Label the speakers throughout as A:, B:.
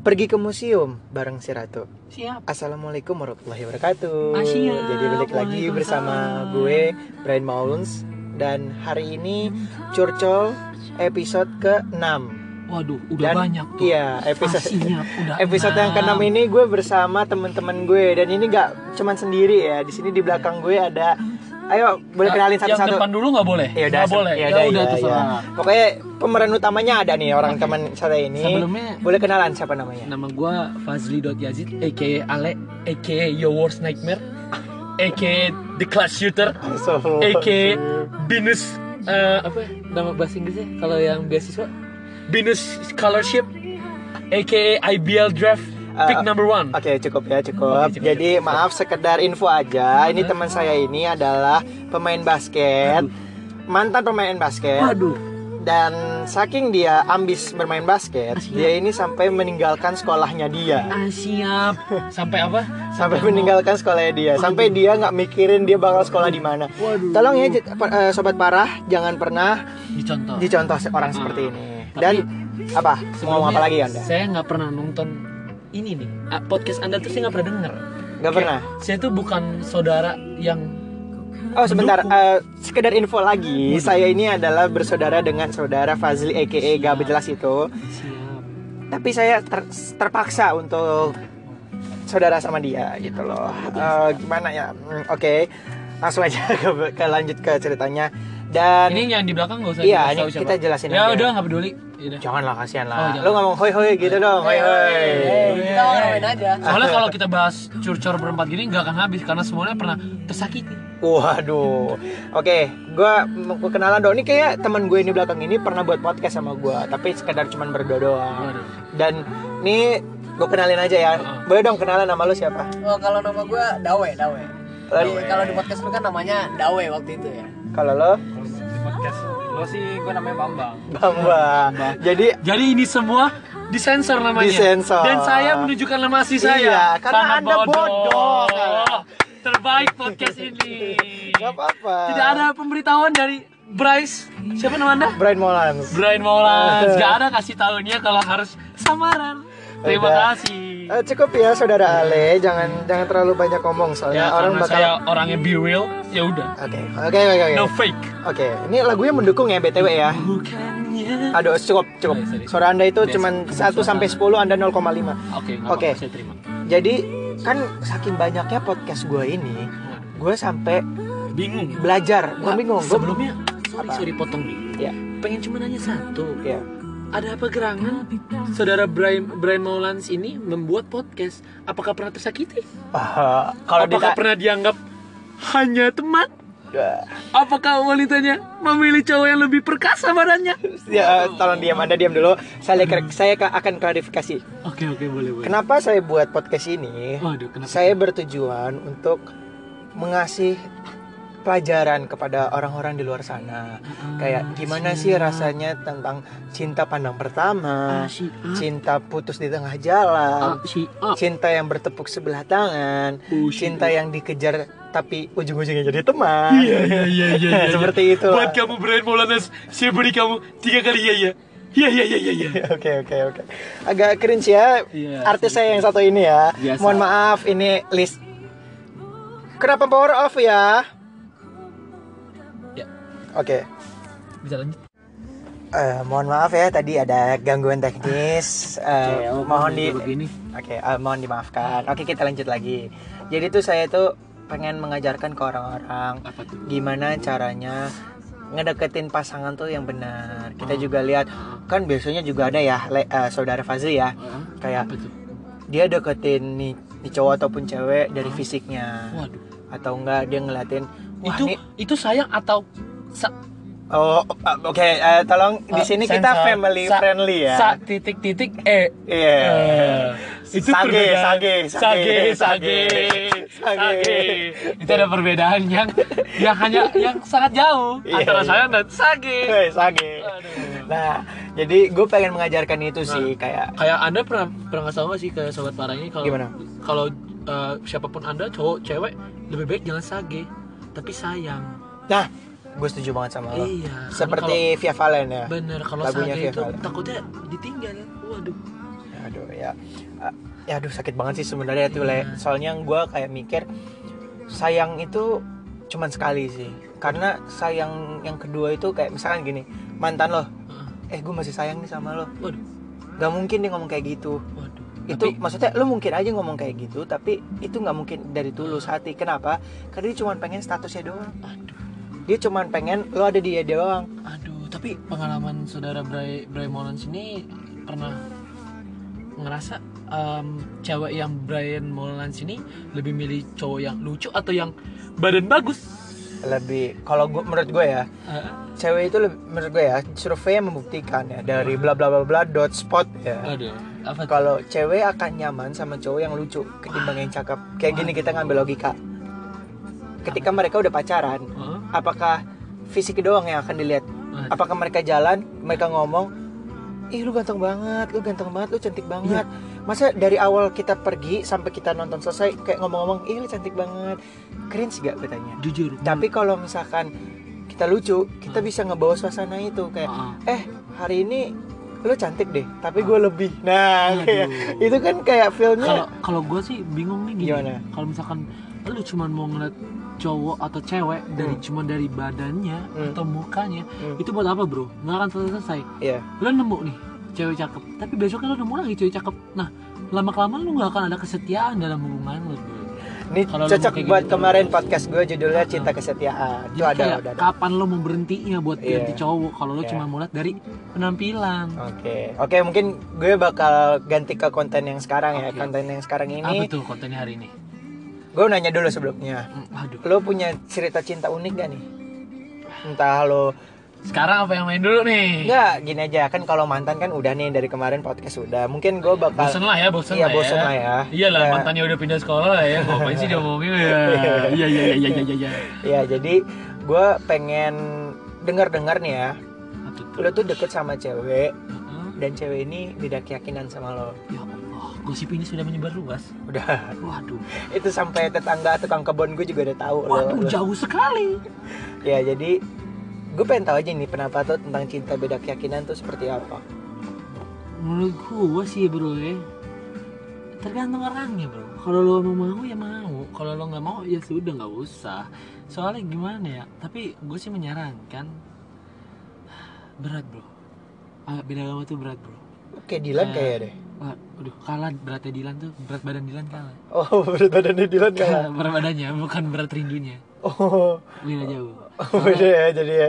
A: pergi ke museum bareng si Ratu.
B: Siap.
A: Assalamualaikum warahmatullahi wabarakatuh.
B: Ah, siap.
A: Jadi balik lagi
B: Waalaikumsalam.
A: bersama gue Brian Maulons dan hari ini curcol episode ke-6.
B: Waduh, udah
A: Dan-
B: banyak tuh. Nah.
A: Iya, episode
B: Ah, siap, udah
A: episode yang
B: enam.
A: keenam ini gue bersama teman-teman gue dan ini nggak cuman sendiri ya. Di sini di belakang gue ada Ayo, boleh
B: Nah,
A: kenalin
B: Yang
A: satu-satu.
B: depan dulu nggak boleh.
A: Ya udah,
B: Nggak boleh.
A: ya udah,
B: udah
A: ya,
B: terserah.
A: ya. Pokoknya pemeran utamanya ada nih orang teman saya ini.
B: Sebelumnya-
A: boleh kenalan siapa namanya?
B: Nama gua Fazli.Yazid aka Ale aka Your Worst Nightmare aka The Class Shooter aka Binus eh, apa ya? nama bahasa Inggrisnya kalau yang beasiswa Binus Scholarship aka IBL Draft pick
A: Eh,
B: number one
A: Oke cukup ya cukup.
B: Hmm. Oke, cukup,
A: Jadi maaf sekedar info aja. Ini teman saya ini adalah pemain basket, mantan pemain basket.
B: Waduh
A: Dan saking dia ambis bermain basket,
B: Asyik.
A: dia ini sampai meninggalkan sekolahnya dia.
B: ah, siap sampai apa
A: Sampai
B: mau-
A: meninggalkan sekolahnya dia, sampai dia nggak mikirin dia bakal sekolah di mana.
B: Waduh.
A: Tolong ya j- pa- eh, sobat parah, jangan pernah
B: dicontoh
A: dicontoh se- orang
B: Ah.
A: seperti ini.
B: Tapi-
A: Dan apa? Mau ngomong
B: Sebelumnya,
A: apa lagi Anda?
B: Saya nggak pernah nonton ini nih Ah, podcast Anda tuh saya nggak pernah denger.
A: Nggak
B: Kayak,
A: pernah.
B: Saya tuh bukan saudara yang
A: Oh sebentar,
B: Mendukung.
A: eh, sekedar info lagi, saya ini adalah bersaudara dengan saudara Fazli EKE gak jelas itu,
B: siap.
A: tapi saya ter- terpaksa untuk saudara sama dia gitu loh. Eh, gimana ya? Hmm, Oke, langsung aja ke, ke lanjut ke ceritanya. Dan
B: Ini yang di belakang nggak usah
A: Iya,
B: dikasih
A: ini
B: tahu siapa.
A: kita jelasin
B: Ya
A: aja. Iya.
B: udah nggak peduli. Yaudah.
A: janganlah kasihan
B: Oh,
A: lah.
B: jangan.
A: Lo ngomong hoi hoi gitu dong, hoi hoi.
C: Kita ngomongin aja.
B: Soalnya kalau kita bahas curcor berempat gini nggak akan habis karena semuanya pernah tersakiti.
A: Waduh. Oke, gua mau kenalan dong. Ini kayak teman gue ini belakang ini pernah buat podcast sama gua, tapi sekedar cuman berdua doang.
B: Waduh. Ah.
A: Dan ini gue kenalin aja ya. Boleh dong kenalan nama lu siapa?
C: Oh, kalau nama gue Dawe, Dawe.
A: Dawe.
C: Di- Kalau di podcast lu kan namanya Dawe waktu itu ya.
A: Kalau lo
D: podcast lo sih gue namanya Bambang
A: Bamba. Jadi
B: Jadi ini semua disensor namanya.
A: Disensor.
B: Dan saya menunjukkan nama asli
A: Iya,
B: saya.
A: karena Anda bodoh. kan?
B: Terbaik podcast ini.
A: nggak apa-apa.
B: Tidak ada pemberitahuan dari Bryce. Siapa nama Anda?
A: Brian Molans.
B: Brian Maulans. Gak ada kasih tahunya kalau harus samaran. Terima
A: Udah.
B: kasih.
A: Eh, cukup ya saudara Ale, jangan jangan terlalu banyak ngomong soalnya
B: Ya,
A: orang
B: karena
A: bakal.
B: saya orangnya be real, ya udah.
A: Oke, oke, oke, oke.
B: No fake.
A: Oke, ini lagunya mendukung ya BTW ya.
B: Bukannya.
A: Aduh, cukup, cukup.
B: Sorry, sorry.
A: Suara Anda itu
B: Biasa,
A: cuman
B: kebiasaan.
A: 1 sampai 10, Anda 0,5.
B: Oke, nggak
A: Oke.
B: apa-apa, saya terima.
A: Jadi, kan saking banyaknya podcast gue ini, gue sampai
B: Bingung.
A: belajar. Gue
B: Pak,
A: bingung. Gua,
B: Sebelumnya, sorry,
A: Apa?
B: sorry potong nih.
A: ya,
B: Pengen cuma nanya satu.
A: ya.
B: Ada apa gerangan saudara Brian Brian Maulans ini membuat podcast? Apakah pernah tersakiti?
A: Ah, kalau dita-
B: Apakah pernah dianggap hanya teman?
A: Ah,
B: Apakah wanitanya memilih cowok yang lebih perkasa badannya?
A: ya, eh, tolong diam Anda diam dulu. Saya saya ka- akan klarifikasi.
B: Oke oke boleh boleh.
A: Kenapa saya buat podcast ini?
B: Waduh kenapa?
A: Saya bertujuan untuk mengasih pelajaran kepada orang-orang di luar sana. Kayak gimana sih rasanya tentang cinta pandang pertama,
B: Ah, si A,
A: cinta putus di tengah
B: ah,
A: jalan,
B: si A,
A: cinta yang bertepuk sebelah tangan,
B: oh, si
A: cinta
B: A.
A: yang dikejar tapi ujung-ujungnya jadi teman.
B: Iya iya iya iya. iya.
A: Seperti itu.
B: Buat kamu Brian Maulanas, saya beri kamu tiga kali ya ya. Iya iya iya iya. iya.
A: Oke oke oke. Agak cringe ya.
B: Iya,
A: Artis saya yang satu ini ya.
B: Biasa.
A: Mohon maaf ini list. Kenapa power off ya?
B: Ya.
A: Oke.
B: Bisa lanjut.
A: Eh, mohon maaf ya tadi ada gangguan teknis. Eh, mohon di Oke,
B: begini.
A: eh, mohon dimaafkan. Oke, kita lanjut lagi. Jadi tuh saya tuh pengen mengajarkan ke orang-orang
B: Apa tuh?
A: gimana caranya ngedeketin pasangan tuh yang benar. Kita juga lihat kan biasanya juga ada ya le- eh, saudara Fazli ya.
B: Ah,
A: Kayak
B: Apa tuh?
A: dia deketin nih, nih cowok ataupun cewek dari fisiknya
B: Waduh.
A: atau enggak dia ngeliatin wah
B: itu
A: ini
B: itu sayang atau sa-
A: oh uh, oke eh, tolong di
B: eh,
A: sini
B: sensor.
A: kita family
B: Sa-
A: friendly ya
B: Sa titik titik eh
A: iya
B: eh. itu
A: Sage,
B: perbedaan
A: sage, sage,
B: sage
A: sage,
B: sage
A: sage.
B: sage. itu ada perbedaan yang yang hanya yang sangat jauh
A: Iya, iya.
B: antara sayang dan sage
A: Hei, sage
B: Aduh.
A: nah
B: Nah.
A: jadi gue pengen mengajarkan itu sih kayak
B: kayak anda pernah pernah nggak sama sih ke sobat parah ini kalau
A: Gimana?
B: kalau eh, siapapun anda cowok cewek lebih baik jangan sage tapi sayang
A: nah gue setuju banget sama lo
B: Iya, karena
A: seperti Via Valen ya
B: bener kalau
A: Lagunya
B: sage itu
A: Via Valen.
B: takutnya ditinggal waduh
A: aduh ya Ah, ya aduh sakit banget sih sebenarnya itu le soalnya gue kayak mikir sayang itu cuman sekali sih karena sayang yang kedua itu kayak misalkan gini mantan lo eh gue masih sayang nih sama lo
B: Waduh.
A: gak mungkin dia ngomong kayak gitu
B: Waduh.
A: itu
B: Tapi-
A: maksudnya lo mungkin aja ngomong kayak gitu tapi itu nggak mungkin dari tulus hati kenapa karena dia cuma pengen statusnya doang
B: Aduh.
A: dia cuma pengen lo ada dia doang
B: Aduh, tapi pengalaman saudara Bray Bray Mullins ini pernah ngerasa em, cewek yang Brian Mullins ini lebih milih cowok yang lucu atau yang badan bagus?
A: lebih kalau gua menurut gue ya cewek itu lebih, menurut gue ya survei yang membuktikan ya dari bla bla bla bla dot spot ya
B: Aduh, apa tuh?
A: kalau cewek akan nyaman sama cowok yang lucu ketimbang yang cakep kayak gini kita ngambil logika ketika mereka udah pacaran
B: Heeh.
A: apakah fisik doang yang akan dilihat
B: Waduh.
A: apakah mereka jalan mereka ngomong ih lu ganteng banget lu ganteng banget lu cantik banget masa dari awal kita pergi sampai kita nonton selesai kayak ngomong-ngomong ih lu cantik banget cringe gak katanya
B: Jujur.
A: Hmm. tapi kalau misalkan kita lucu
B: Hmm.
A: kita bisa ngebawa suasana itu kayak
B: Heeh.
A: eh hari ini lu cantik deh tapi gue lebih nah kayak,
B: Hmm. Aduh.
A: itu kan kayak
B: kalau
A: filmnya
B: kalau gue sih bingung nih gini.
A: Gimana?
B: Kalau misalkan lu cuman mau ngeliat cowok atau cewek dari
A: Hmm.
B: cuman dari badannya
A: Hmm.
B: atau mukanya,
A: Hmm.
B: itu buat apa bro? Nggak akan selesai selesai.
A: Iya.
B: Lu nemu nih cewek cakep, tapi besoknya lu nemu lagi cewek cakep. Nah lama kelamaan lu nggak akan ada kesetiaan dalam hubungan lu. bro.
A: ini
B: kalau lu mau
A: cocok
B: kayak
A: buat
B: gitu.
A: kemarin podcast gue judulnya
B: Ah.
A: cinta kesetiaan itu
B: Jadi
A: ada
B: kayak
A: udah ada.
B: kapan lu mau berhentinya buat
A: Iya.
B: ganti cowok? Kalau lu
A: Iya.
B: cuma mulai dari penampilan.
A: Oke, oke mungkin gue bakal ganti ke konten yang sekarang ya.
B: Oke. Ah,
A: Konten yang sekarang
B: Apa
A: ini,
B: tuh kontennya hari ini?
A: gue nanya dulu sebelumnya.
B: Hmm, Aduh.
A: Lo punya cerita cinta unik gak nih? Entah lo,
B: Sekarang apa yang main dulu nih?
A: enggak gini aja kan kalau mantan kan udah nih dari kemarin podcast udah. Mungkin gue bakal,
B: Bosen lah ya, bosen
A: iya
B: lah
A: bosen
B: ya.
A: lah ya.
B: Iya lah,
A: Ya.
B: mantannya udah pindah sekolah ya. Ngapain sih dia ngomongin ya? Iya iya iya iya iya. iya.
A: ya jadi gue pengen dengar-dengar nih ya.
B: Apa tuh?
A: Lo tuh deket sama cewek
B: Heeh.
A: dan cewek ini beda keyakinan sama lo.
B: Ya Allah, gosip ini sudah menyebar luas.
A: Udah,
B: Waduh,
A: itu sampai tetangga tukang kebun gue juga udah tahu. lo-
B: waduh
A: lo-
B: jauh sekali.
A: Ya jadi gue pengen tahu aja nih pendapat lo tentang cinta beda keyakinan tuh seperti apa.
B: Menurut gua sih bro ya, tergantung orangnya bro. Kalau lo mau mau ya mau, kalau lo nggak mau ya sudah nggak usah. Soalnya gimana ya? Tapi gue sih menyarankan berat bro. Ah, beda agama tuh berat bro.
A: Kayak Dilan
B: Ya.
A: kayak deh.
B: Wah, aduh kalah beratnya Dilan tuh berat badan Dilan kalah.
A: Oh berat badannya Dilan kalah.
B: berat badannya bukan berat rindunya
A: Oh
B: beda jauh
A: beda ya jadi ya.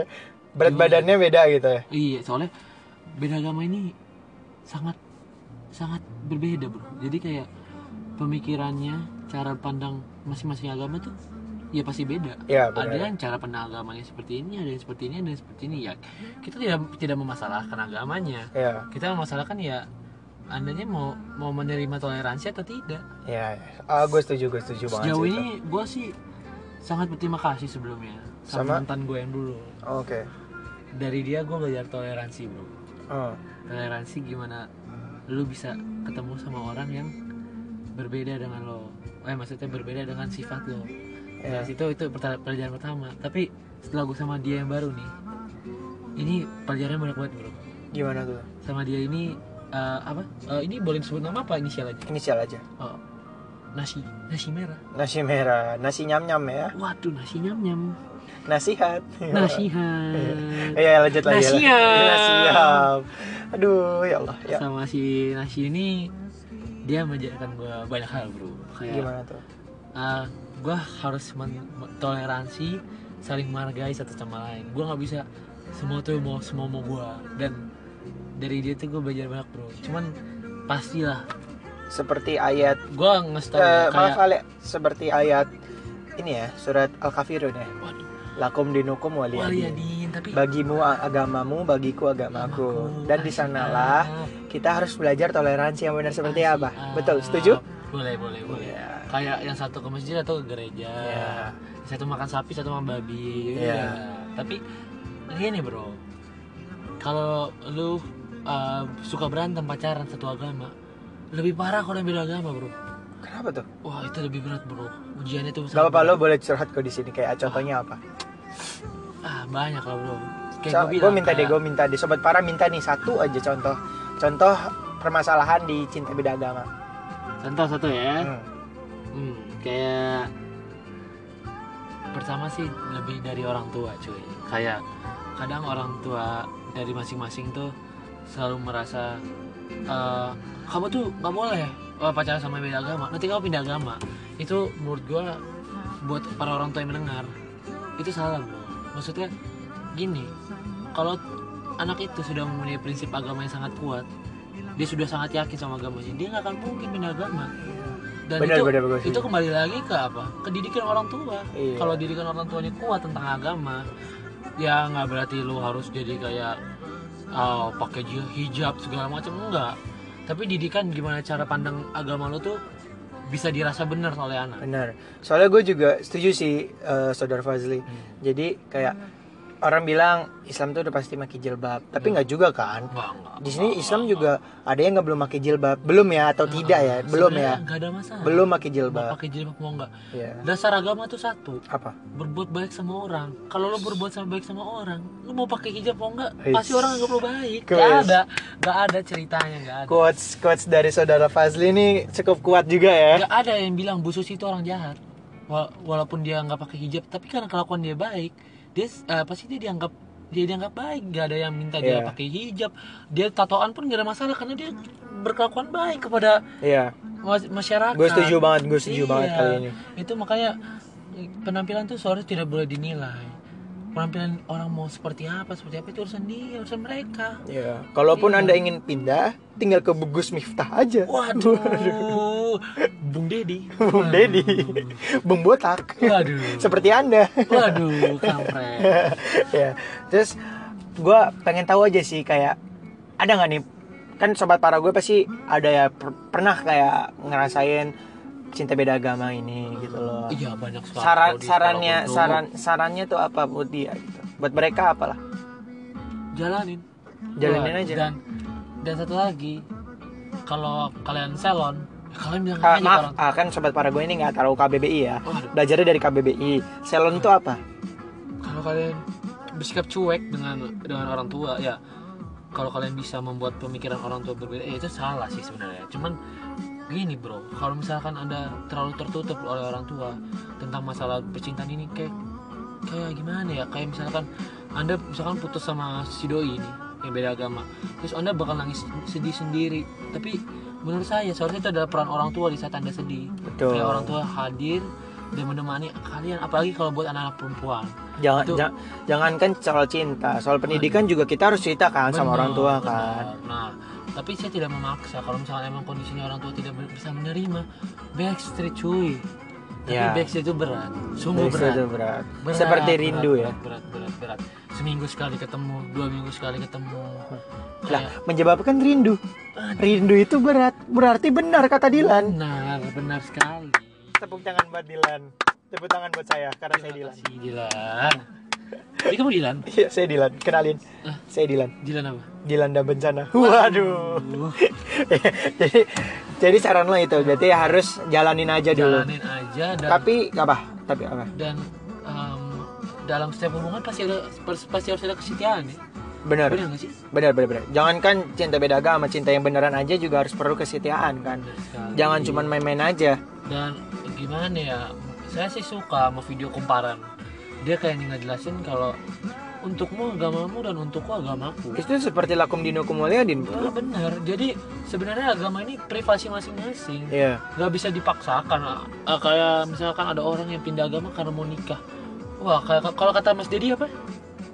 A: Berat
B: Iya.
A: badannya beda gitu ya.
B: iya soalnya beda agama ini sangat sangat berbeda bro jadi kayak pemikirannya cara pandang masing-masing agama tuh ya pasti beda
A: Ya
B: ada
A: benar.
B: yang cara pandang agamanya seperti ini ada yang seperti ini ada yang seperti ini ya kita tidak tidak memasalahkan agamanya
A: Ya,
B: kita memasalahkan ya andanya mau mau menerima toleransi atau tidak
A: ya. Ah, gue setuju, gue setuju banget.
B: Sejauh
A: sih itu.
B: ini gue sih sangat berterima kasih sebelumnya
A: Sama?
B: sama, mantan gue yang dulu.
A: Oke.
B: Dari dia gue belajar toleransi bro.
A: Oh,
B: Toleransi gimana lu bisa ketemu sama orang yang berbeda dengan lo. Eh maksudnya berbeda dengan sifat lo.
A: ya.
B: Dari situ itu perta- pelajaran pertama. Tapi setelah gue sama dia yang baru nih, ini pelajaran banyak banget bro.
A: Gimana tuh?
B: Sama dia ini eh, apa? Eh, ini boleh disebut nama apa inisial aja?
A: Inisial aja.
B: Oh, nasi nasi merah.
A: Nasi merah, nasi nyam nyam ya.
B: Waduh nasi nyam nyam.
A: Nasihat.
B: Nasihat.
A: Iya lanjut lagi.
B: Nasihat.
A: Nasihat. Aduh ya Allah. Ya.
B: sama si Nasi ini dia mengajarkan gue banyak hal bro kayak
A: Gimana tuh?
B: gue Eh, harus men- toleransi saling menghargai satu sama lain gue nggak bisa semua tuh mau semua mau gue dan dari dia tuh gue belajar banyak bro cuman pastilah
A: Seperti ayat
B: gue ngasih tau
A: Eh,
B: ya, kayak
A: maaf Ale, seperti ayat ini ya, surat Al-Kafirun ya.
B: Waduh.
A: Lakum dinukum waliyadin.
B: waliyadin tapi
A: Bagimu a- agamamu, bagiku agamaku. Dan di sanalah kita harus belajar toleransi yang benar seperti
B: Asik,
A: apa.
B: ah.
A: Betul, setuju?
B: boleh boleh boleh
A: Iya.
B: kayak yang satu ke masjid atau ke gereja
A: Iya.
B: satu makan sapi satu makan babi
A: Iya.
B: gitu ya. tapi ini bro kalau lu uh, suka berantem pacaran satu agama lebih parah kalau yang beda agama bro
A: Kenapa tuh?
B: wah itu lebih berat bro ujiannya tuh
A: Gak
B: sangat
A: apa-apa lo
B: berat.
A: boleh curhat kok di sini kayak contohnya apa?
B: ah banyak lah bro kayak
A: So,
B: gua
A: gue
B: bilang,
A: minta deh,
B: kayak-
A: gue minta deh. Sobat para minta nih satu aja contoh. Contoh permasalahan di cinta beda agama.
B: Contoh satu ya.
A: Hmm.
B: Hmm, kayak pertama sih lebih dari orang tua cuy kayak kadang orang tua dari masing-masing tuh selalu merasa eh, kamu tuh nggak boleh eh, pacaran sama beda agama nanti kamu pindah agama itu menurut gua buat para orang tua yang mendengar itu salah bro maksudnya gini kalau anak itu sudah mempunyai prinsip agama yang sangat kuat dia sudah sangat yakin sama agamanya dia nggak akan mungkin pindah agama dan
A: Benar,
B: itu
A: benar, benar.
B: itu kembali lagi ke apa ke didikan orang tua
A: Iya.
B: kalau didikan orang tuanya kuat tentang agama ya nggak berarti lu harus jadi kayak oh, pakai ji- hijab segala macam enggak tapi didikan gimana cara pandang agama lu tuh bisa dirasa benar oleh anak
A: Benar. Soalnya gue juga setuju sih eh, Saudara Fazli.
B: Hmm.
A: Jadi kayak orang bilang Islam tuh udah pasti pakai jilbab,
B: Hmm.
A: tapi nggak juga kan?
B: Enggak, enggak.
A: Di sini Islam juga ada yang nggak belum pakai jilbab, belum ya atau tidak ya? Belum ya.
B: Sebenarnya nggak ada masalah
A: Belum pakai
B: mau
A: jilbab.
B: pakai jilbab mau enggak
A: Iya.
B: dasar agama tuh satu
A: Apa?
B: berbuat baik sama orang kalau lo berbuat sama baik sama orang lo mau pakai hijab mau enggak
A: Hits.
B: pasti orang anggap lo baik
A: Kuis.
B: Gak ada Gak ada ceritanya Gak ada
A: Quotes quotes dari Saudara Fazli ini cukup kuat juga ya.
B: Gak ada yang bilang Bu Susi itu orang jahat. Wa- Walaupun dia nggak pakai hijab, tapi karena kelakuan dia baik, dia s- eh, pasti dia dianggap dia dianggap baik. Gak ada yang minta dia
A: Iya.
B: pakai hijab. Dia tatoan pun gak ada masalah karena dia berkelakuan baik kepada
A: Iya.
B: mas- masyarakat.
A: Gue setuju banget, gue setuju
B: Iya.
A: banget kali ini.
B: Itu makanya eh, penampilan tuh seharusnya tidak boleh dinilai. Penampilan orang mau seperti apa, seperti apa itu urusan dia, urusan mereka.
A: Iya. Kalaupun
B: Iya.
A: anda ingin pindah, tinggal ke Bugus Miftah aja.
B: Waduh, Bung Dedi.
A: Bung Dedi, Bung Botak.
B: Waduh.
A: Seperti anda.
B: Waduh, kampret.
A: ya terus gue pengen tahu aja sih kayak ada nggak nih kan sobat para gue pasti ada ya per- pernah kayak ngerasain cinta beda agama ini gitu loh
B: Iya banyak sekali.
A: saran
B: Kalau di
A: sarannya
B: sekolah
A: saran sarannya tuh apa buat dia gitu buat mereka apalah
B: bodoh, jalanin.
A: jalanin
B: Buat.
A: aja
B: Dan dan satu lagi kalau kalian salon, ya kalian bilang
A: Ah,
B: aja
A: maaf
B: ke orang.
A: ah, kan sobat para gue ini nggak tahu KBBI ya
B: Waduh.
A: belajarnya dari KBBI salon tuh apa
B: Kalau kalian bersikap cuek dengan dengan orang tua ya kalau kalian bisa membuat pemikiran orang tua berbeda ya itu salah sih sebenarnya cuman gini bro kalau misalkan anda terlalu tertutup oleh orang tua tentang masalah percintaan ini kayak kayak gimana ya kayak misalkan anda misalkan putus sama si doi ini yang beda agama terus anda bakal nangis sedih sendiri tapi menurut saya seharusnya itu adalah peran orang tua di saat anda sedih
A: Betul.
B: Kayak orang tua hadir dan menemani kalian apalagi kalau buat anak-anak perempuan
A: jangan
B: Itu-
A: jang- jangankan soal cinta soal pendidikan juga kita harus ceritakan Kan sama
B: Benar,
A: orang tua
B: benar.
A: kan
B: Nah, tapi saya tidak memaksa kalau misalnya emang kondisinya orang tua tidak ber- bisa menerima backstreet cuy. Tapi
A: Ya.
B: backstreet itu berat, sungguh
A: Jadi
B: berat.
A: itu berat.
B: Berat,
A: seperti
B: berat, Iya.
A: rindu ya
B: Berat, berat, berat, berat. Seminggu sekali ketemu, dua minggu sekali ketemu.
A: Lah,
B: Kayak,
A: menyebabkan rindu. Rindu itu berat, berarti benar kata Dilan.
B: benar, benar sekali.
A: Tepuk tangan buat Dilan. Tepuk tangan buat saya karena saya Dilan.
B: Si Dilan. Jadi kamu Dilan?
A: Iya, saya Dilan. Kenalin.
B: Hah?
A: Saya Dilan.
B: Dilan apa?
A: Dilan dan bencana. Waduh. jadi jadi saran lo itu berarti harus jalanin aja dulu.
B: Jalanin aja dan
A: Tapi apa? Tapi apa?
B: dan em, dalam setiap hubungan pasti ada pasti harus ada kesetiaan ya.
A: Benar.
B: Benar nggak sih?
A: Benar, benar, benar. Jangankan cinta beda agama, cinta yang beneran aja juga harus perlu kesetiaan kan.
B: Benar sekali.
A: Jangan cuman main-main aja.
B: dan gimana ya saya sih suka sama video kumparan dia kayak ngejelasin kalau untukmu agamamu dan untukku agamaku
A: Itu seperti lakum dinukum waliyadin.
B: Nah, bener jadi sebenarnya agama ini privasi masing-masing
A: Iya.
B: nggak bisa dipaksakan Ah, kayak misalkan ada orang yang pindah agama karena mau nikah wah kayak kalau kata Mas Dedi apa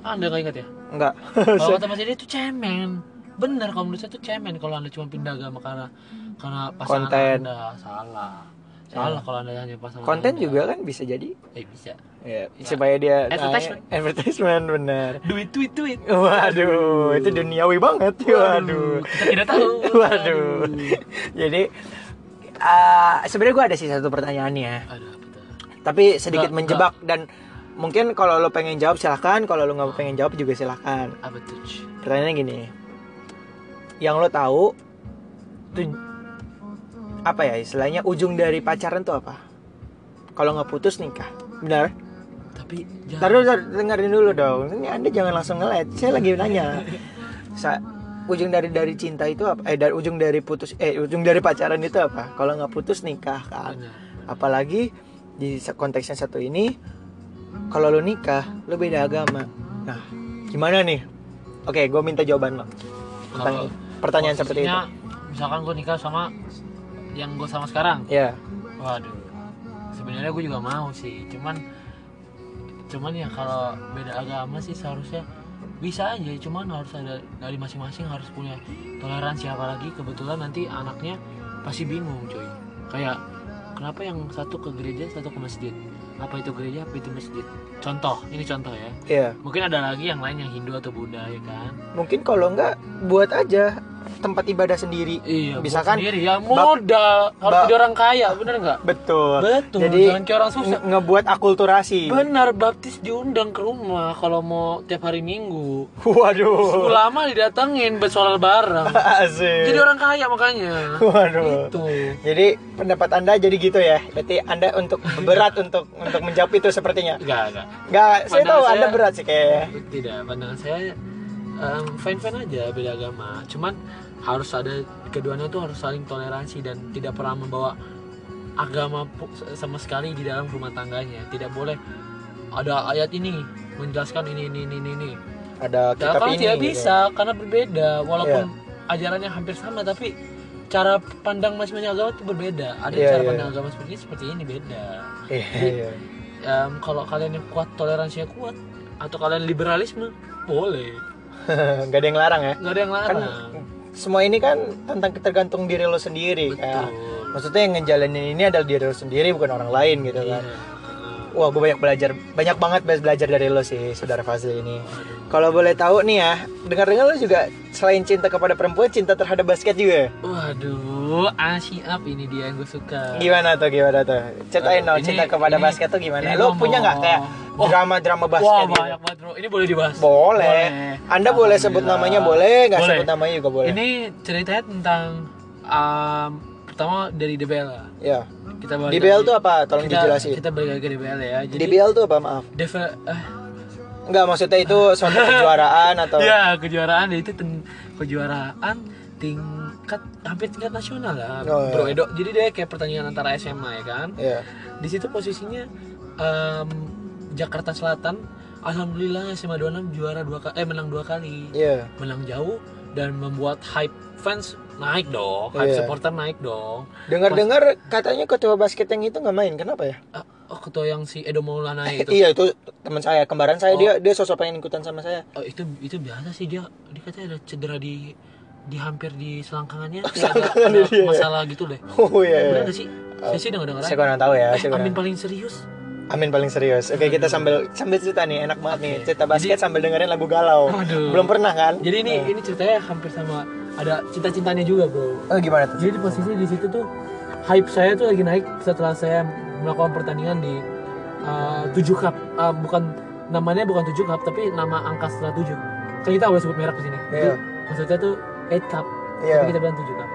B: Ah, anda nggak ingat ya
A: Enggak.
B: kalau kata Mas Dedi itu cemen bener kalau menurut saya itu cemen kalau anda cuma pindah agama karena karena pasangan
A: Konten. Iya.
B: anda salah salah kalau anda hanya pasangan
A: Konten
B: Anda.
A: juga kan bisa jadi
B: eh bisa
A: Ya,
B: Ya.
A: supaya dia
B: Advertisement.
A: naik- advertisement bener.
B: duit duit duit
A: Waduh, itu duniawi banget. Waduh.
B: kita tidak tahu
A: Waduh. Jadi ah, sebenarnya gue ada sih satu pertanyaannya,
B: aduh apa tuh?
A: tapi sedikit
B: Nggak,
A: menjebak dan mungkin kalau lo pengen jawab silahkan, kalau lo nggak pengen jawab juga silahkan.
B: apa tuh Ci?
A: Pertanyaannya gini, yang lo tahu tuh apa ya istilahnya ujung dari pacaran tuh apa? Kalau nggak putus nikah, benar?
B: tapi jangan
A: Taruh, taruh, dengerin dulu dong. Ini Anda jangan langsung ngelet. Saya lagi nanya. Sa- ujung dari dari cinta itu apa? Eh dari ujung dari putus eh ujung dari pacaran itu apa? Kalau nggak putus nikah kan. Apalagi di se- konteks yang satu ini kalau lo nikah, lo beda agama. Nah, gimana nih? Oke, gue minta jawaban lo. Tentang
B: Kalau
A: pertanyaan seperti itu.
B: Posisinya, Misalkan gue nikah sama yang gue sama sekarang.
A: Ya,
B: Waduh. Sebenarnya gue juga mau sih, cuman cuman ya kalau beda agama sih seharusnya bisa aja, cuman harus ada dari masing-masing harus punya toleransi apalagi kebetulan nanti anaknya pasti bingung coy. Kayak kenapa yang satu ke gereja, satu ke masjid? Apa itu gereja, apa itu masjid? Contoh, ini contoh ya.
A: ya.
B: Mungkin ada lagi yang lain yang Hindu atau Buddha ya kan?
A: Mungkin kalau nggak buat aja tempat ibadah sendiri.
B: Iya,
A: Bisa
B: bisa
A: kan?
B: Sendiri ya
A: Bab-
B: modal harus
A: bab-
B: jadi orang kaya, bener nggak?
A: Betul.
B: Betul.
A: Jadi
B: jangan kayak orang susah.
A: nge- ngebuat akulturasi.
B: Benar, baptis diundang ke rumah kalau mau tiap hari Minggu.
A: Waduh.
B: Ulama didatengin buat sholat bareng.
A: Asik.
B: Jadi orang Gitu. kaya makanya.
A: Waduh.
B: Itu.
A: Jadi pendapat Anda jadi gitu ya. Berarti Anda untuk berat untuk untuk menjawab itu sepertinya.
B: Enggak, enggak.
A: Enggak, saya
B: Padahal
A: tahu
B: saya-
A: Anda berat sih kayaknya.
B: Tidak, pandangan saya em, fine-fine aja beda agama. Cuman harus ada keduanya tuh harus saling toleransi dan tidak pernah membawa agama pu- sama sekali di dalam rumah tangganya. Tidak boleh ada ayat ini menjelaskan ini ini ini ini. ini.
A: Ada
B: Ya,
A: kitab
B: kalau
A: ini.
B: tidak
A: gitu. Iya.
B: bisa karena berbeda walaupun ajarannya hampir sama tapi cara pandang masing-masing agama itu berbeda ada
A: Iya,
B: cara
A: iya.
B: pandang agama seperti ini seperti ini beda
A: Iya, iya.
B: Em, kalau kalian yang kuat toleransinya kuat atau kalian liberalisme boleh
A: Nggak ada yang larang ya.
B: nggak ada yang
A: Kan
B: larang
A: semua ini kan tentang tergantung diri lo sendiri
B: betul
A: kan. Maksudnya yang ngejalanin ini adalah diri lo sendiri bukan orang lain gitu
B: Iya.
A: kan. Wah, gue banyak belajar, banyak banget belajar dari lo sih, saudara Fazil ini. Kalau boleh tahu nih ya, dengar-dengar lo juga selain cinta kepada perempuan, cinta terhadap basket juga. ya?
B: waduh asi up ini dia yang gue suka
A: Gimana tuh, gimana tuh? Ceritain dong,
B: Ini-
A: cinta kepada
B: ini-
A: basket tuh gimana?
B: ini
A: Lo
B: ngomong.
A: punya nggak kayak
B: Wah.
A: drama-drama
B: wah
A: basket gitu?
B: banyak banget bro ini boleh dibahas
A: Boleh. Anda boleh sebut namanya
B: Alhamdulillah.
A: boleh, nggak
B: Boleh.
A: sebut namanya juga boleh.
B: Ini ceritanya tentang um, pertama dari DBL lah.
A: Ya.
B: Kita balik
A: DBL
B: lagi.
A: tuh apa? Tolong
B: kita,
A: dijelasin.
B: Kita balik lagi ke DBL ya. Jadi
A: DBL tuh apa? Maaf.
B: deve- eh,
A: Nggak maksudnya itu suatu kejuaraan atau
B: ya kejuaraan itu ten- kejuaraan tingkat hampir tingkat nasional lah.
A: Oh,
B: Bro
A: iya.
B: Edo. Jadi dia kayak pertandingan antara SMA ya kan.
A: Ya.
B: Di situ posisinya um, Jakarta Selatan alhamdulillah SMA 26 juara dua kali eh menang dua kali.
A: Ya.
B: Menang jauh dan membuat hype fans naik dong, hype
A: Iya.
B: supporter naik dong.
A: Dengar-dengar katanya ketua basket yang itu nggak main. Kenapa ya?
B: Ah, oh ketua yang si Edo Maulana itu.
A: Iya, itu teman saya, kembaran saya.
B: Oh.
A: Dia dia sosok pengen ikutan sama saya.
B: Oh, itu itu biasa sih dia dia katanya ada cedera di di hampir di selangkangannya Kayak
A: selangkangannya
B: ada, ada
A: dia ya?
B: masalah gitu deh.
A: Oh
B: Bener
A: iya.
B: gak sih? Saya sih denger dengar.
A: Saya kurang tahu ya.
B: eh,
A: saya kurang-
B: Amin paling serius.
A: Amin paling serius. Oke, kita sambil sambil cerita nih, enak banget nih. Cerita basket sambil dengerin lagu galau.
B: Aduh.
A: Belum pernah kan?
B: Jadi ini ini ceritanya hampir sama ada cinta-cintanya juga, Bro.
A: Oh, gimana tuh?
B: Jadi posisi di situ tuh hype saya tuh lagi naik setelah saya melakukan pertandingan di eh, 7 cup. Eh, bukan namanya bukan 7 cup tapi nama angka setelah 7. Kan kita boleh sebut merek di sini.
A: Iya.
B: Maksudnya tuh 8 cup.
A: Iya.
B: Tapi kita bilang 7 cup.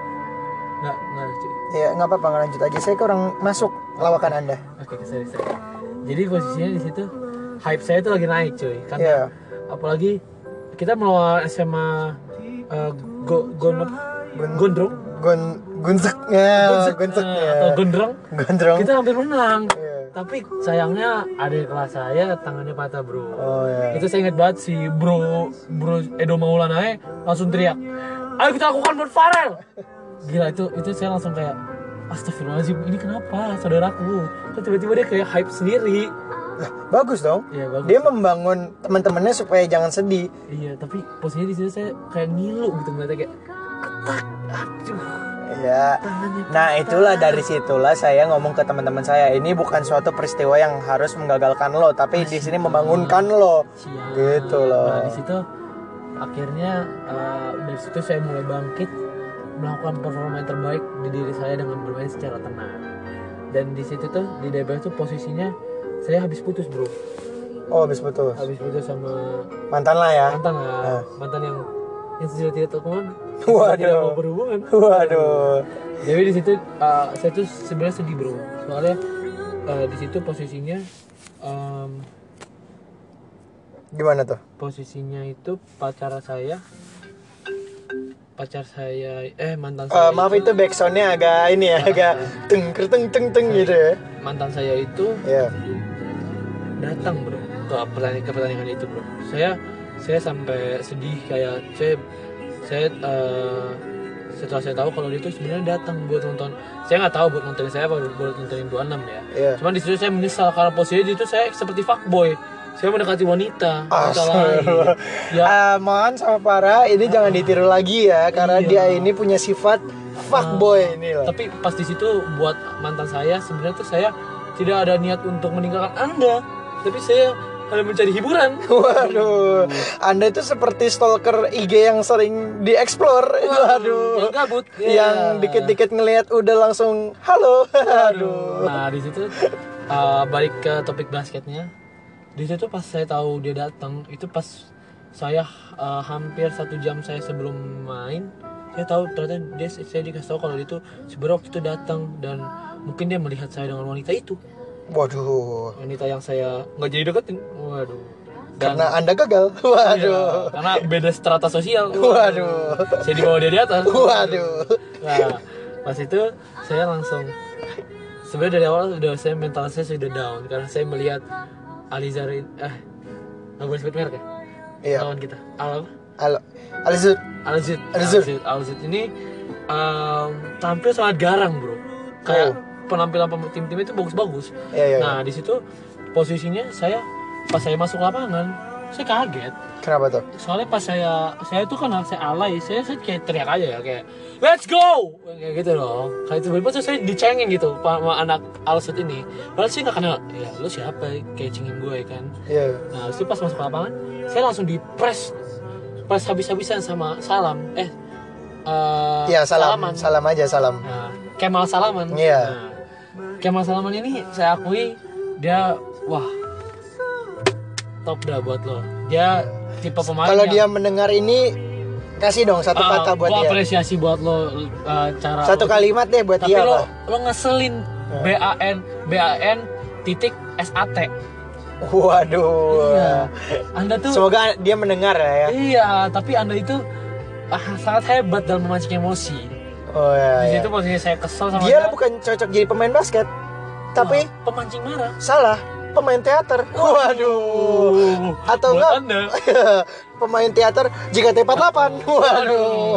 B: Nggak, nggak lucu.
A: Ya, nggak apa-apa, nggak lanjut aja. Saya kurang masuk lawakan Anda.
B: Oke, sorry, sorry. Jadi posisinya di situ hype saya tuh lagi naik, cuy. Karena
A: Iya.
B: apalagi kita melawan SMA eh, Go, Gonop,
A: Gon- iya.
B: Gondrong,
A: Gun gunseknya,
B: Gonsek, eh, atau
A: gunseknya.
B: Gondrong,
A: Gondrong.
B: kita hampir menang.
A: Iya.
B: Tapi sayangnya adik kelas saya tangannya patah, bro.
A: Oh ya.
B: Itu saya ingat banget si bro bro Edo Maulana eh, langsung teriak, ayo kita lakukan buat Farel. Gila itu itu saya langsung kayak Astagfirullahaladzim, ini kenapa saudaraku? Kok tiba-tiba dia kayak hype sendiri.
A: Lah, bagus dong.
B: Iya, bagus.
A: Dia membangun teman-temannya supaya jangan sedih.
B: Iya, tapi posisinya di situ saya kayak ngilu gitu ngeliatnya kayak ketak. Aduh,
A: Ya.
B: tangannya.
A: Nah, itulah dari situlah saya ngomong ke teman-teman saya, ini bukan suatu peristiwa yang harus menggagalkan lo, tapi di sini membangunkan lo.
B: Sial.
A: Gitu loh.
B: Nah, di situ akhirnya eh, dari situ saya mulai bangkit melakukan performa yang terbaik di diri saya dengan bermain secara tenang. Dan di situ tuh di DBL tuh posisinya saya habis putus, Bro.
A: Oh, habis putus.
B: Habis putus sama
A: Mantan lah ya.
B: mantan lah, mantan yang yang sudah tidak terhubungan.
A: Waduh.
B: Tidak mau berhubungan.
A: Waduh.
B: Jadi di situ uh, saya tuh sebenarnya sedih bro, soalnya uh, di situ posisinya um,
A: Gimana tuh?
B: posisinya itu pacar saya pacar saya eh mantan Nah, iya.
A: Eh,
B: saya
A: maaf
B: itu,
A: itu backsoundnya agak ini ya, agak teng teng teng teng gitu ya.
B: mantan saya itu
A: Ya.
B: datang bro ke pertandingan ke pertandingan itu bro saya saya sampai sedih kayak saya saya eh, setelah saya tahu kalau dia itu sebenarnya datang buat nonton saya nggak tahu buat nonton saya apa buat nontonin 26 ya
A: Iya.
B: cuman di situ saya menyesal karena posisinya di situ saya seperti fuckboy saya mendekati wanita wanita lain
A: Astagfirullah.
B: ya
A: Ah, Mohan sama Farah ini jangan ditiru lagi ya karena
B: Iya. Ah.
A: dia ini punya sifat fuckboy ini loh.
B: tapi pas di situ buat mantan saya sebenarnya tuh saya tidak ada niat untuk meninggalkan anda tapi saya hanya mencari hiburan
A: Waduh, Anda itu seperti stalker IG yang sering dieksplor. Waduh.
B: yang gabut
A: Yang
B: Ya.
A: dikit-dikit ngelihat udah langsung halo. Aduh.
B: Nah di situ uh, balik ke topik basketnya. Di situ pas saya tahu dia datang, itu pas saya uh, hampir satu jam saya sebelum main, saya tahu ternyata dia saya dikasih tahu kalau dia itu sebenarnya waktu itu datang dan mungkin dia melihat saya dengan wanita itu,
A: Waduh.
B: wanita yang saya nggak jadi deketin. Waduh. Dan-
A: Karena Anda gagal. Waduh.
B: Iya, karena beda strata sosial.
A: Waduh.
B: Saya di bawah dia di atas.
A: Waduh.
B: Nah, pas itu saya langsung sebenarnya dari awal udah saya mental saya sudah down karena saya melihat Alizar eh nggak boleh sebut merek ya
A: Iya.
B: lawan kita Al
A: Halo. Alizut. Alizid.
B: Alizid Alizid Alizid ini em, tampil sangat garang bro kayak
A: Oh.
B: penampilan pem- tim-tim itu bagus-bagus
A: Iya, iya, iya.
B: nah di situ posisinya saya pas saya masuk lapangan saya kaget
A: Kenapa tuh?
B: soalnya pas saya saya tuh kan saya alay saya, saya kayak teriak aja ya kayak let's go kayak gitu loh kayak tiba-tiba tuh saya dicengin gitu sama anak alsut ini padahal saya nggak kenal ya lu siapa kayak cengin gue kan
A: Iya.
B: nah terus pas masuk lapangan saya langsung di press press habis-habisan sama salam eh eh,
A: Iya, salam.
B: salaman.
A: Salam aja salam.
B: Nah, Kemal Salaman.
A: Iya.
B: Nah, Kemal Salaman ini saya akui dia wah top dah buat lo. Dia tipe pemain
A: Kalau dia
B: yang,
A: mendengar ini kasih dong satu
B: uh,
A: kata buat
B: ya. gua
A: dia.
B: apresiasi buat lo uh, cara
A: Satu
B: lo-
A: kalimat deh buat
B: Tapi
A: dia
B: lo
A: apa?
B: lo ngeselin B A N B A N titik S A T.
A: Waduh.
B: Iya. Anda tuh
A: Semoga dia mendengar ya.
B: iya, tapi Anda itu ah, sangat hebat dalam memancing emosi.
A: Oh ya.
B: Di
A: ya.
B: situ posisi saya kesel sama
A: Dia bukan cocok jadi pemain basket, tapi
B: Wah, pemancing marah.
A: salah pemain teater. Waduh. Oh, Atau
B: Buat
A: enggak?
B: Anda.
A: pemain teater JKT48. Waduh.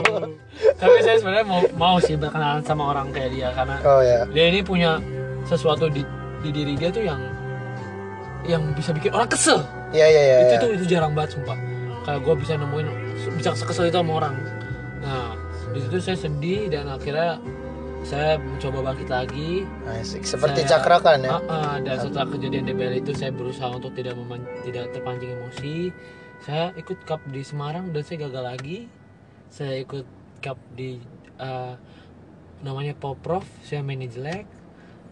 B: Tapi saya sebenarnya mau mau sih berkenalan sama orang kayak dia karena
A: Oh ya.
B: dia ini punya sesuatu di, di diri dia tuh yang yang bisa bikin orang kesel.
A: Ya ya ya.
B: Itu
A: ya.
B: tuh itu jarang banget sumpah. Kayak gue bisa nemuin bisa kesel itu sama orang. Nah di situ saya sedih dan akhirnya saya mencoba bangkit lagi.
A: Asik. Seperti
B: Saya-
A: cakrakan ya.
B: Ah, ah, dan setelah kejadian DBL itu saya berusaha untuk tidak meman- tidak terpancing emosi. Saya ikut cup di Semarang dan saya gagal lagi. Saya ikut cup di eh, namanya Poprov, saya main jelek.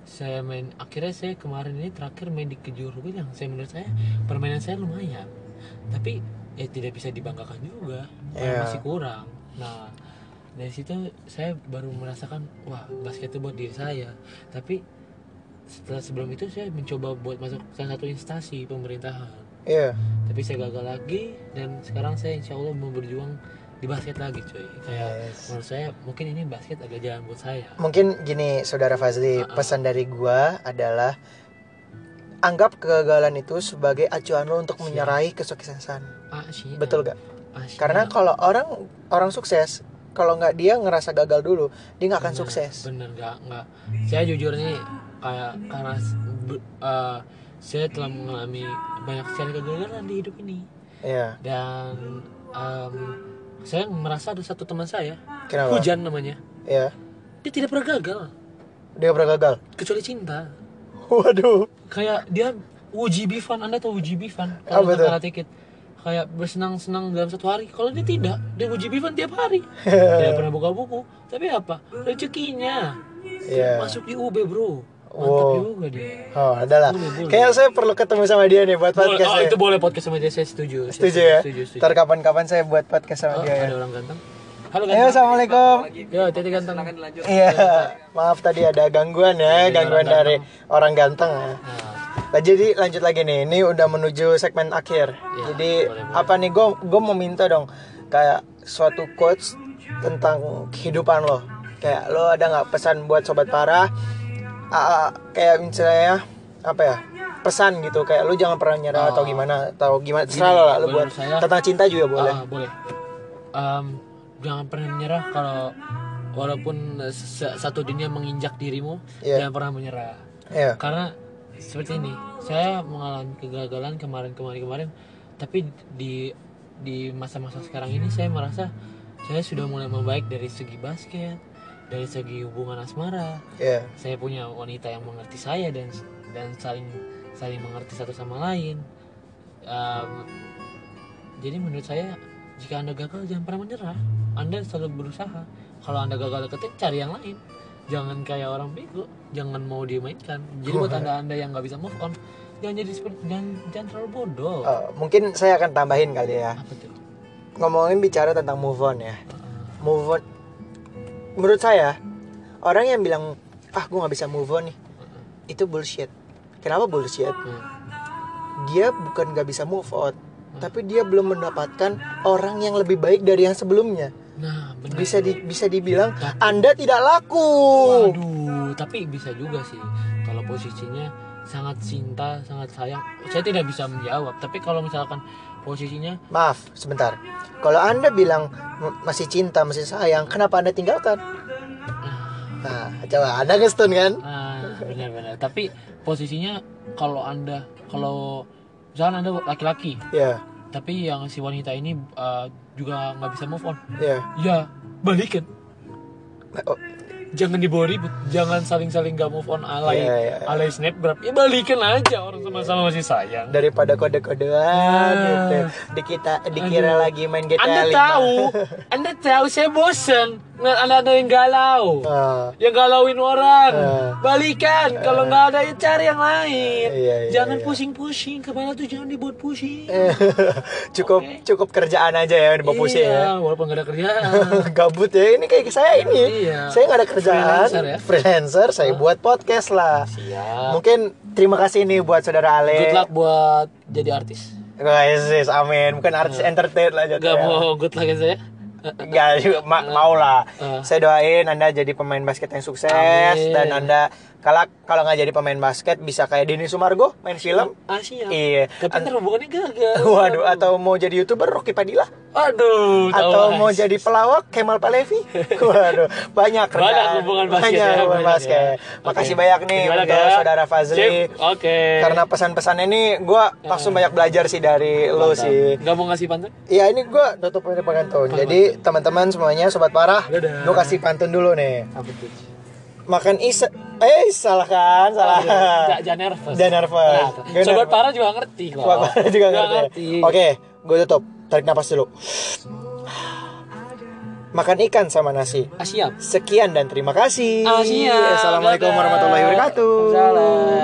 B: Saya main akhirnya saya kemarin ini terakhir main di Kejuru yang saya menurut saya permainan saya lumayan. Tapi ya tidak bisa dibanggakan juga.
A: Iya.
B: Masih kurang. Nah, dari situ saya baru merasakan wah basket itu buat diri saya. Tapi setelah sebelum itu saya mencoba buat masuk salah satu instansi pemerintahan
A: Iya.
B: tapi saya gagal lagi dan sekarang saya insya Allah mau berjuang di basket lagi cuy kayak
A: Yes.
B: menurut saya mungkin ini basket agak jalan buat saya
A: Mungkin gini, Saudara Fazli, pesan dari gua adalah anggap kegagalan itu sebagai acuan lo untuk menyerahi kesuksesan.
B: ah sih
A: Betul gak?
B: ah, sih.
A: Karena kalau orang orang sukses, kalau nggak dia ngerasa gagal dulu, dia nggak akan Kan
B: Bener,
A: sukses.
B: bener nggak nggak saya jujur nih kayak karena s- be- eh, saya telah mengalami banyak sekali kegagalan di hidup ini
A: Iya.
B: dan em, saya merasa ada satu teman saya
A: Kenapa?
B: hujan namanya
A: Iya.
B: dia tidak pernah gagal
A: Dia pernah gagal.
B: kecuali cinta
A: Waduh.
B: kayak dia uji bifan anda tahu uji bifan
A: Apa
B: kalau
A: tuh?
B: nonton karate kid kayak bersenang-senang dalam satu hari kalau dia tidak dia uji bifan tiap hari dia pernah buka buku tapi apa rezekinya
A: Iya.
B: masuk di UB bro mantap
A: Wow.
B: juga dia
A: Oh, adalah.
B: Boleh, boleh.
A: Kayaknya saya perlu ketemu sama dia nih buat
B: boleh,
A: podcast.
B: oh,
A: ya.
B: itu boleh podcast sama dia saya setuju saya
A: Setuju ya.
B: setuju, setuju.
A: Ntar kapan-kapan saya buat podcast sama
B: Oh,
A: dia. ya.
B: ada orang ganteng halo
A: Ayo,
B: ganteng
A: assalamualaikum.
B: ya tete ganteng
A: Iya. Maaf tadi ada gangguan ya, gangguan
B: Iya, orang
A: dari orang ganteng. ya.
B: Nah,
A: Nah, jadi lanjut lagi nih, ini udah menuju segmen akhir.
B: Iya,
A: jadi
B: boleh, boleh.
A: apa nih, gue mau minta dong kayak suatu quotes tentang kehidupan lo kayak lo ada nggak pesan buat sobat parah Ah, ah, kayak misalnya apa ya pesan gitu kayak lo jangan pernah nyerah atau gimana atau gimana terserah
B: Oh. Gini,
A: lo lah lo
B: menurut
A: buat
B: saya-
A: tentang cinta juga boleh
B: Ah, boleh. Em, jangan pernah menyerah kalau walaupun eh, se- satu dunia menginjak dirimu,
A: Iya.
B: jangan pernah menyerah.
A: Iya.
B: Karena seperti ini, saya mengalami kegagalan kemarin-kemarin-kemarin, tapi di di masa-masa sekarang ini saya merasa saya sudah mulai membaik dari segi basket, dari segi hubungan asmara,
A: Iya.
B: saya punya wanita yang mengerti saya dan dan saling saling mengerti satu sama lain. Um, jadi menurut saya jika anda gagal jangan pernah menyerah. Anda selalu berusaha. Kalau anda gagal deketin cari yang lain. Jangan kayak orang bego. Jangan mau dimainkan. Jadi buat anda anda yang nggak bisa move on, jangan jadi seperti jangan, jangan terlalu bodoh.
A: Eh, mungkin saya akan tambahin kali ya
B: Apa tuh? Ah.
A: ngomongin bicara tentang move on ya move on menurut saya orang yang bilang ah gue nggak bisa move on nih itu bullshit kenapa bullshit dia bukan nggak bisa move on tapi dia belum mendapatkan orang yang lebih baik dari yang sebelumnya
B: Nah, benar.
A: bisa di- bisa dibilang
B: Tapi-
A: anda tidak laku
B: Waduh, tapi bisa juga sih kalau posisinya sangat cinta, sangat sayang. Saya tidak bisa menjawab, tapi kalau misalkan posisinya
A: maaf sebentar kalau anda bilang "M- masih cinta masih sayang kenapa anda tinggalkan nah coba anda ngestun kan
B: ah, benar-benar, tapi posisinya kalau Anda kalau misalkan Anda laki-laki,
A: ya
B: tapi yang si wanita ini eh, juga nggak bisa move on.
A: ya
B: Ya, balikan.
A: Oh,
B: Jangan dibawa ribut, jangan saling-saling gak move on
A: Iya,
B: alay
A: iya, iya.
B: alay snapgram. Ya balikan aja orang sama-sama masih sayang.
A: daripada kode-kodean
B: Ah.
A: gitu. Di kita dikira
B: Aduh.
A: lagi main GTA
B: Anda
A: 5.
B: tahu, Anda tahu saya bosen ngeliat Anda ada yang galau,
A: Ah,
B: yang galauin orang.
A: Eh.
B: Balikan, kalau nggak ada ya cari yang lain.
A: Ah. Iya, iya,
B: jangan
A: iya. Eh,
B: pusing-pusing, kepala tuh jangan dibuat pusing.
A: cukup
B: Oke.
A: cukup kerjaan aja ya di Bapusi ya.
B: Iya, walaupun nggak ada kerjaan.
A: Gabut ya ini kayak saya ini.
B: Iya.
A: Saya nggak ada kerjaan,
B: Freelancer ya?
A: freelancer, saya buat podcast lah.
B: Siap.
A: Mungkin terima kasih nih buat saudara Ale.
B: Good luck buat jadi artis.
A: Guys, amin. Bukan artis entertain lah jatuh.
B: Gak Iya. mau good luck ya
A: Iya.
B: saya.
A: Enggak Ya, juga ma- mau lah.
B: Eh.
A: Saya doain Anda jadi pemain basket yang sukses
B: Amin.
A: dan Anda kalau kalau nggak jadi pemain basket bisa kayak Denny Sumargo main film.
B: Ah siap.
A: Iya.
B: Tapi ntar hubungannya gagal.
A: Waduh, atau mau jadi youtuber Rocky Padilla,
B: Aduh. tahu
A: atau
B: lah.
A: mau jadi pelawak Kemal Palevi. Waduh, banyak kerjaan.
B: Banyak hubungan basket.
A: Banyak
B: ya,
A: hubungan
B: banyak
A: basket.
B: ya.
A: Makasih
B: Oke.
A: banyak nih
B: Terima kasih
A: untuk
B: ya.
A: saudara Fazli.
B: Sip, Oke. Eh.
A: Karena pesan-pesan ini gue langsung banyak belajar sih dari lo sih.
B: Gak mau ngasih pantun?
A: Ya ini gue tutup dari pantun. Jadi teman-teman semuanya sobat parah,
B: Dadah.
A: gue kasih pantun dulu nih.
B: Apa tuh?
A: Makan isa, eh salah kan, salah.
B: Oh, Jangan jangan nervous.
A: Jangan nervous.
B: Nah,
A: Jangan
B: Sobat
A: nervous.
B: Parah juga ngerti kok.
A: Sobat parah juga ngerti.
B: Oke.
A: Oke, gue tutup. Tarik nafas dulu. Makan ikan sama nasi.
B: Ah, siap.
A: Sekian dan terima kasih.
B: Ah, siap.
A: Assalamualaikum
B: Dadah.
A: warahmatullahi wabarakatuh.
B: Waalaikumsalam.